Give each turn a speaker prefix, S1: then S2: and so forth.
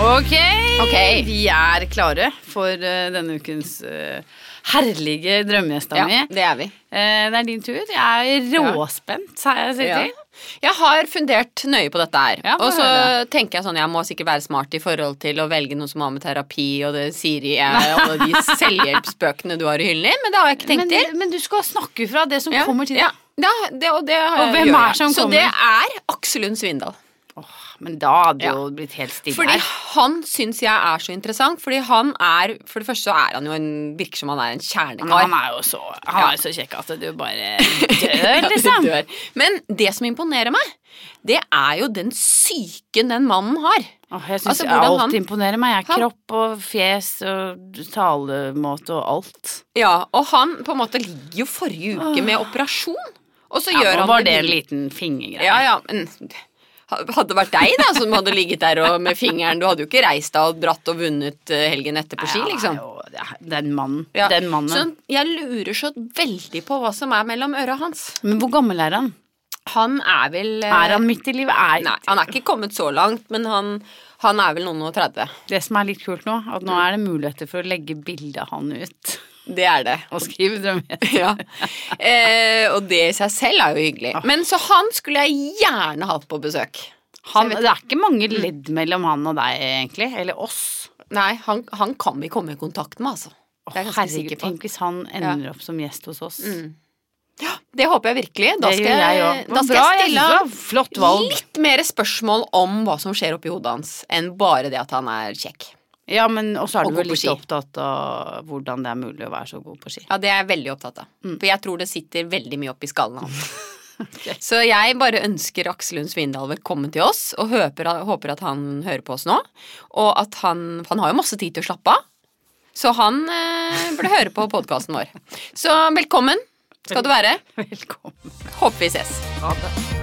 S1: Ok,
S2: Ok.
S1: vi er klare for eh, denne ukens eh, herlige drømmegjesta
S2: Ja,
S1: mi.
S2: det er vi.
S1: Eh, det er din tur. Jeg er råspent, sa jeg
S2: Ja.
S1: sitter.
S2: Jeg har fundert nøye på dette her.
S1: Ja, få
S2: og så
S1: høre.
S2: tenker jeg sånn, jeg må sikkert være smart i forhold til å velge noe som har med terapi og det Siri eh, og de selvhjelpsbøkene du har i hyllen din, men det har jeg ikke tenkt
S1: Men,
S2: til.
S1: men du skal snakke fra det som
S2: Ja,
S1: kommer til deg.
S2: ja. Ja, det, og det har
S1: Og
S2: jeg-
S1: hvem
S2: gjør
S1: er
S2: jeg.
S1: som
S2: Så
S1: kommer?
S2: det er Aksel Lund Svindal.
S1: Men da hadde det
S2: Ja.
S1: jo blitt helt stille
S2: Fordi
S1: her.
S2: han syns jeg er så interessant. Fordi han er For det første så er han jo en Virker som han er
S1: Men
S2: en
S1: han
S2: kjernekar.
S1: er jo så, han er jo så kjekk at du bare dør, liksom.
S2: Dør. Men det som imponerer meg, det er jo den psyken den mannen har.
S1: Åh, jeg syns
S2: Altså, hvordan
S1: alt
S2: han-
S1: imponerer meg. Jeg er
S2: Han-
S1: kropp og fjes og talemåte og alt.
S2: Ja, Og han på en måte ligger jo forrige uke med operasjon, og så
S1: Ja,
S2: gjør
S1: nå
S2: han
S1: var det en
S2: lille-
S1: liten fingergreie.
S2: Ja, ja, men hadde det vært deg da som hadde ligget der og med fingeren Du hadde jo ikke reist deg og dratt og vunnet eh, helgen etter på ski,
S1: Nei,
S2: liksom.
S1: han er jo- ja, Den mannen.
S2: Ja,
S1: Den mannen.
S2: Så jeg lurer så veldig på hva som er mellom øra hans.
S1: Men hvor gammel er han?
S2: Han er vel eh,
S1: Er han midt i livet? Er,
S2: Nei, han er ikke kommet så langt, men han, han er vel noen og 30.
S1: Det som er litt kult nå, at nå er det muligheter for å legge bildet av han ut.
S2: Det er det.
S1: Og skrive drømmer.
S2: Ja. Eh, og det i seg selv er jo hyggelig.
S1: Ah.
S2: Men så han skulle jeg gjerne hatt på besøk.
S1: Han,
S2: Så jeg
S1: det er ikke mange ledd mellom han og deg, egentlig. Eller oss.
S2: Nei, han, han kan vi komme i kontakt med, altså. Det er jeg ganske
S1: Herregud,
S2: sikker på.
S1: tenk hvis han ender opp som gjest hos oss.
S2: Det håper jeg virkelig. Mm. Da
S1: Det
S2: skal
S1: gjør jeg
S2: jeg,
S1: òg.
S2: da skal jeg stille ham
S1: Flott valg.
S2: litt mer spørsmål om hva som skjer oppi hodet hans, enn bare det at han er kjekk.
S1: Ja, men også er
S2: Og
S1: du
S2: gå
S1: vel
S2: på
S1: litt
S2: ski.
S1: opptatt av hvordan det er mulig å være så god på ski.
S2: Ja, det er jeg veldig opptatt av. For jeg tror det sitter veldig mye oppi skallen hans. Så jeg bare ønsker Aksel Lund Svindal velkommen til oss, og håper, håper at han hører på oss nå. Og at han for Han har jo masse tid til å slappe av, så han eh, burde høre på podkasten vår. Så velkommen skal du være.
S1: Velkommen.
S2: Håper vi ses.
S1: Ha det.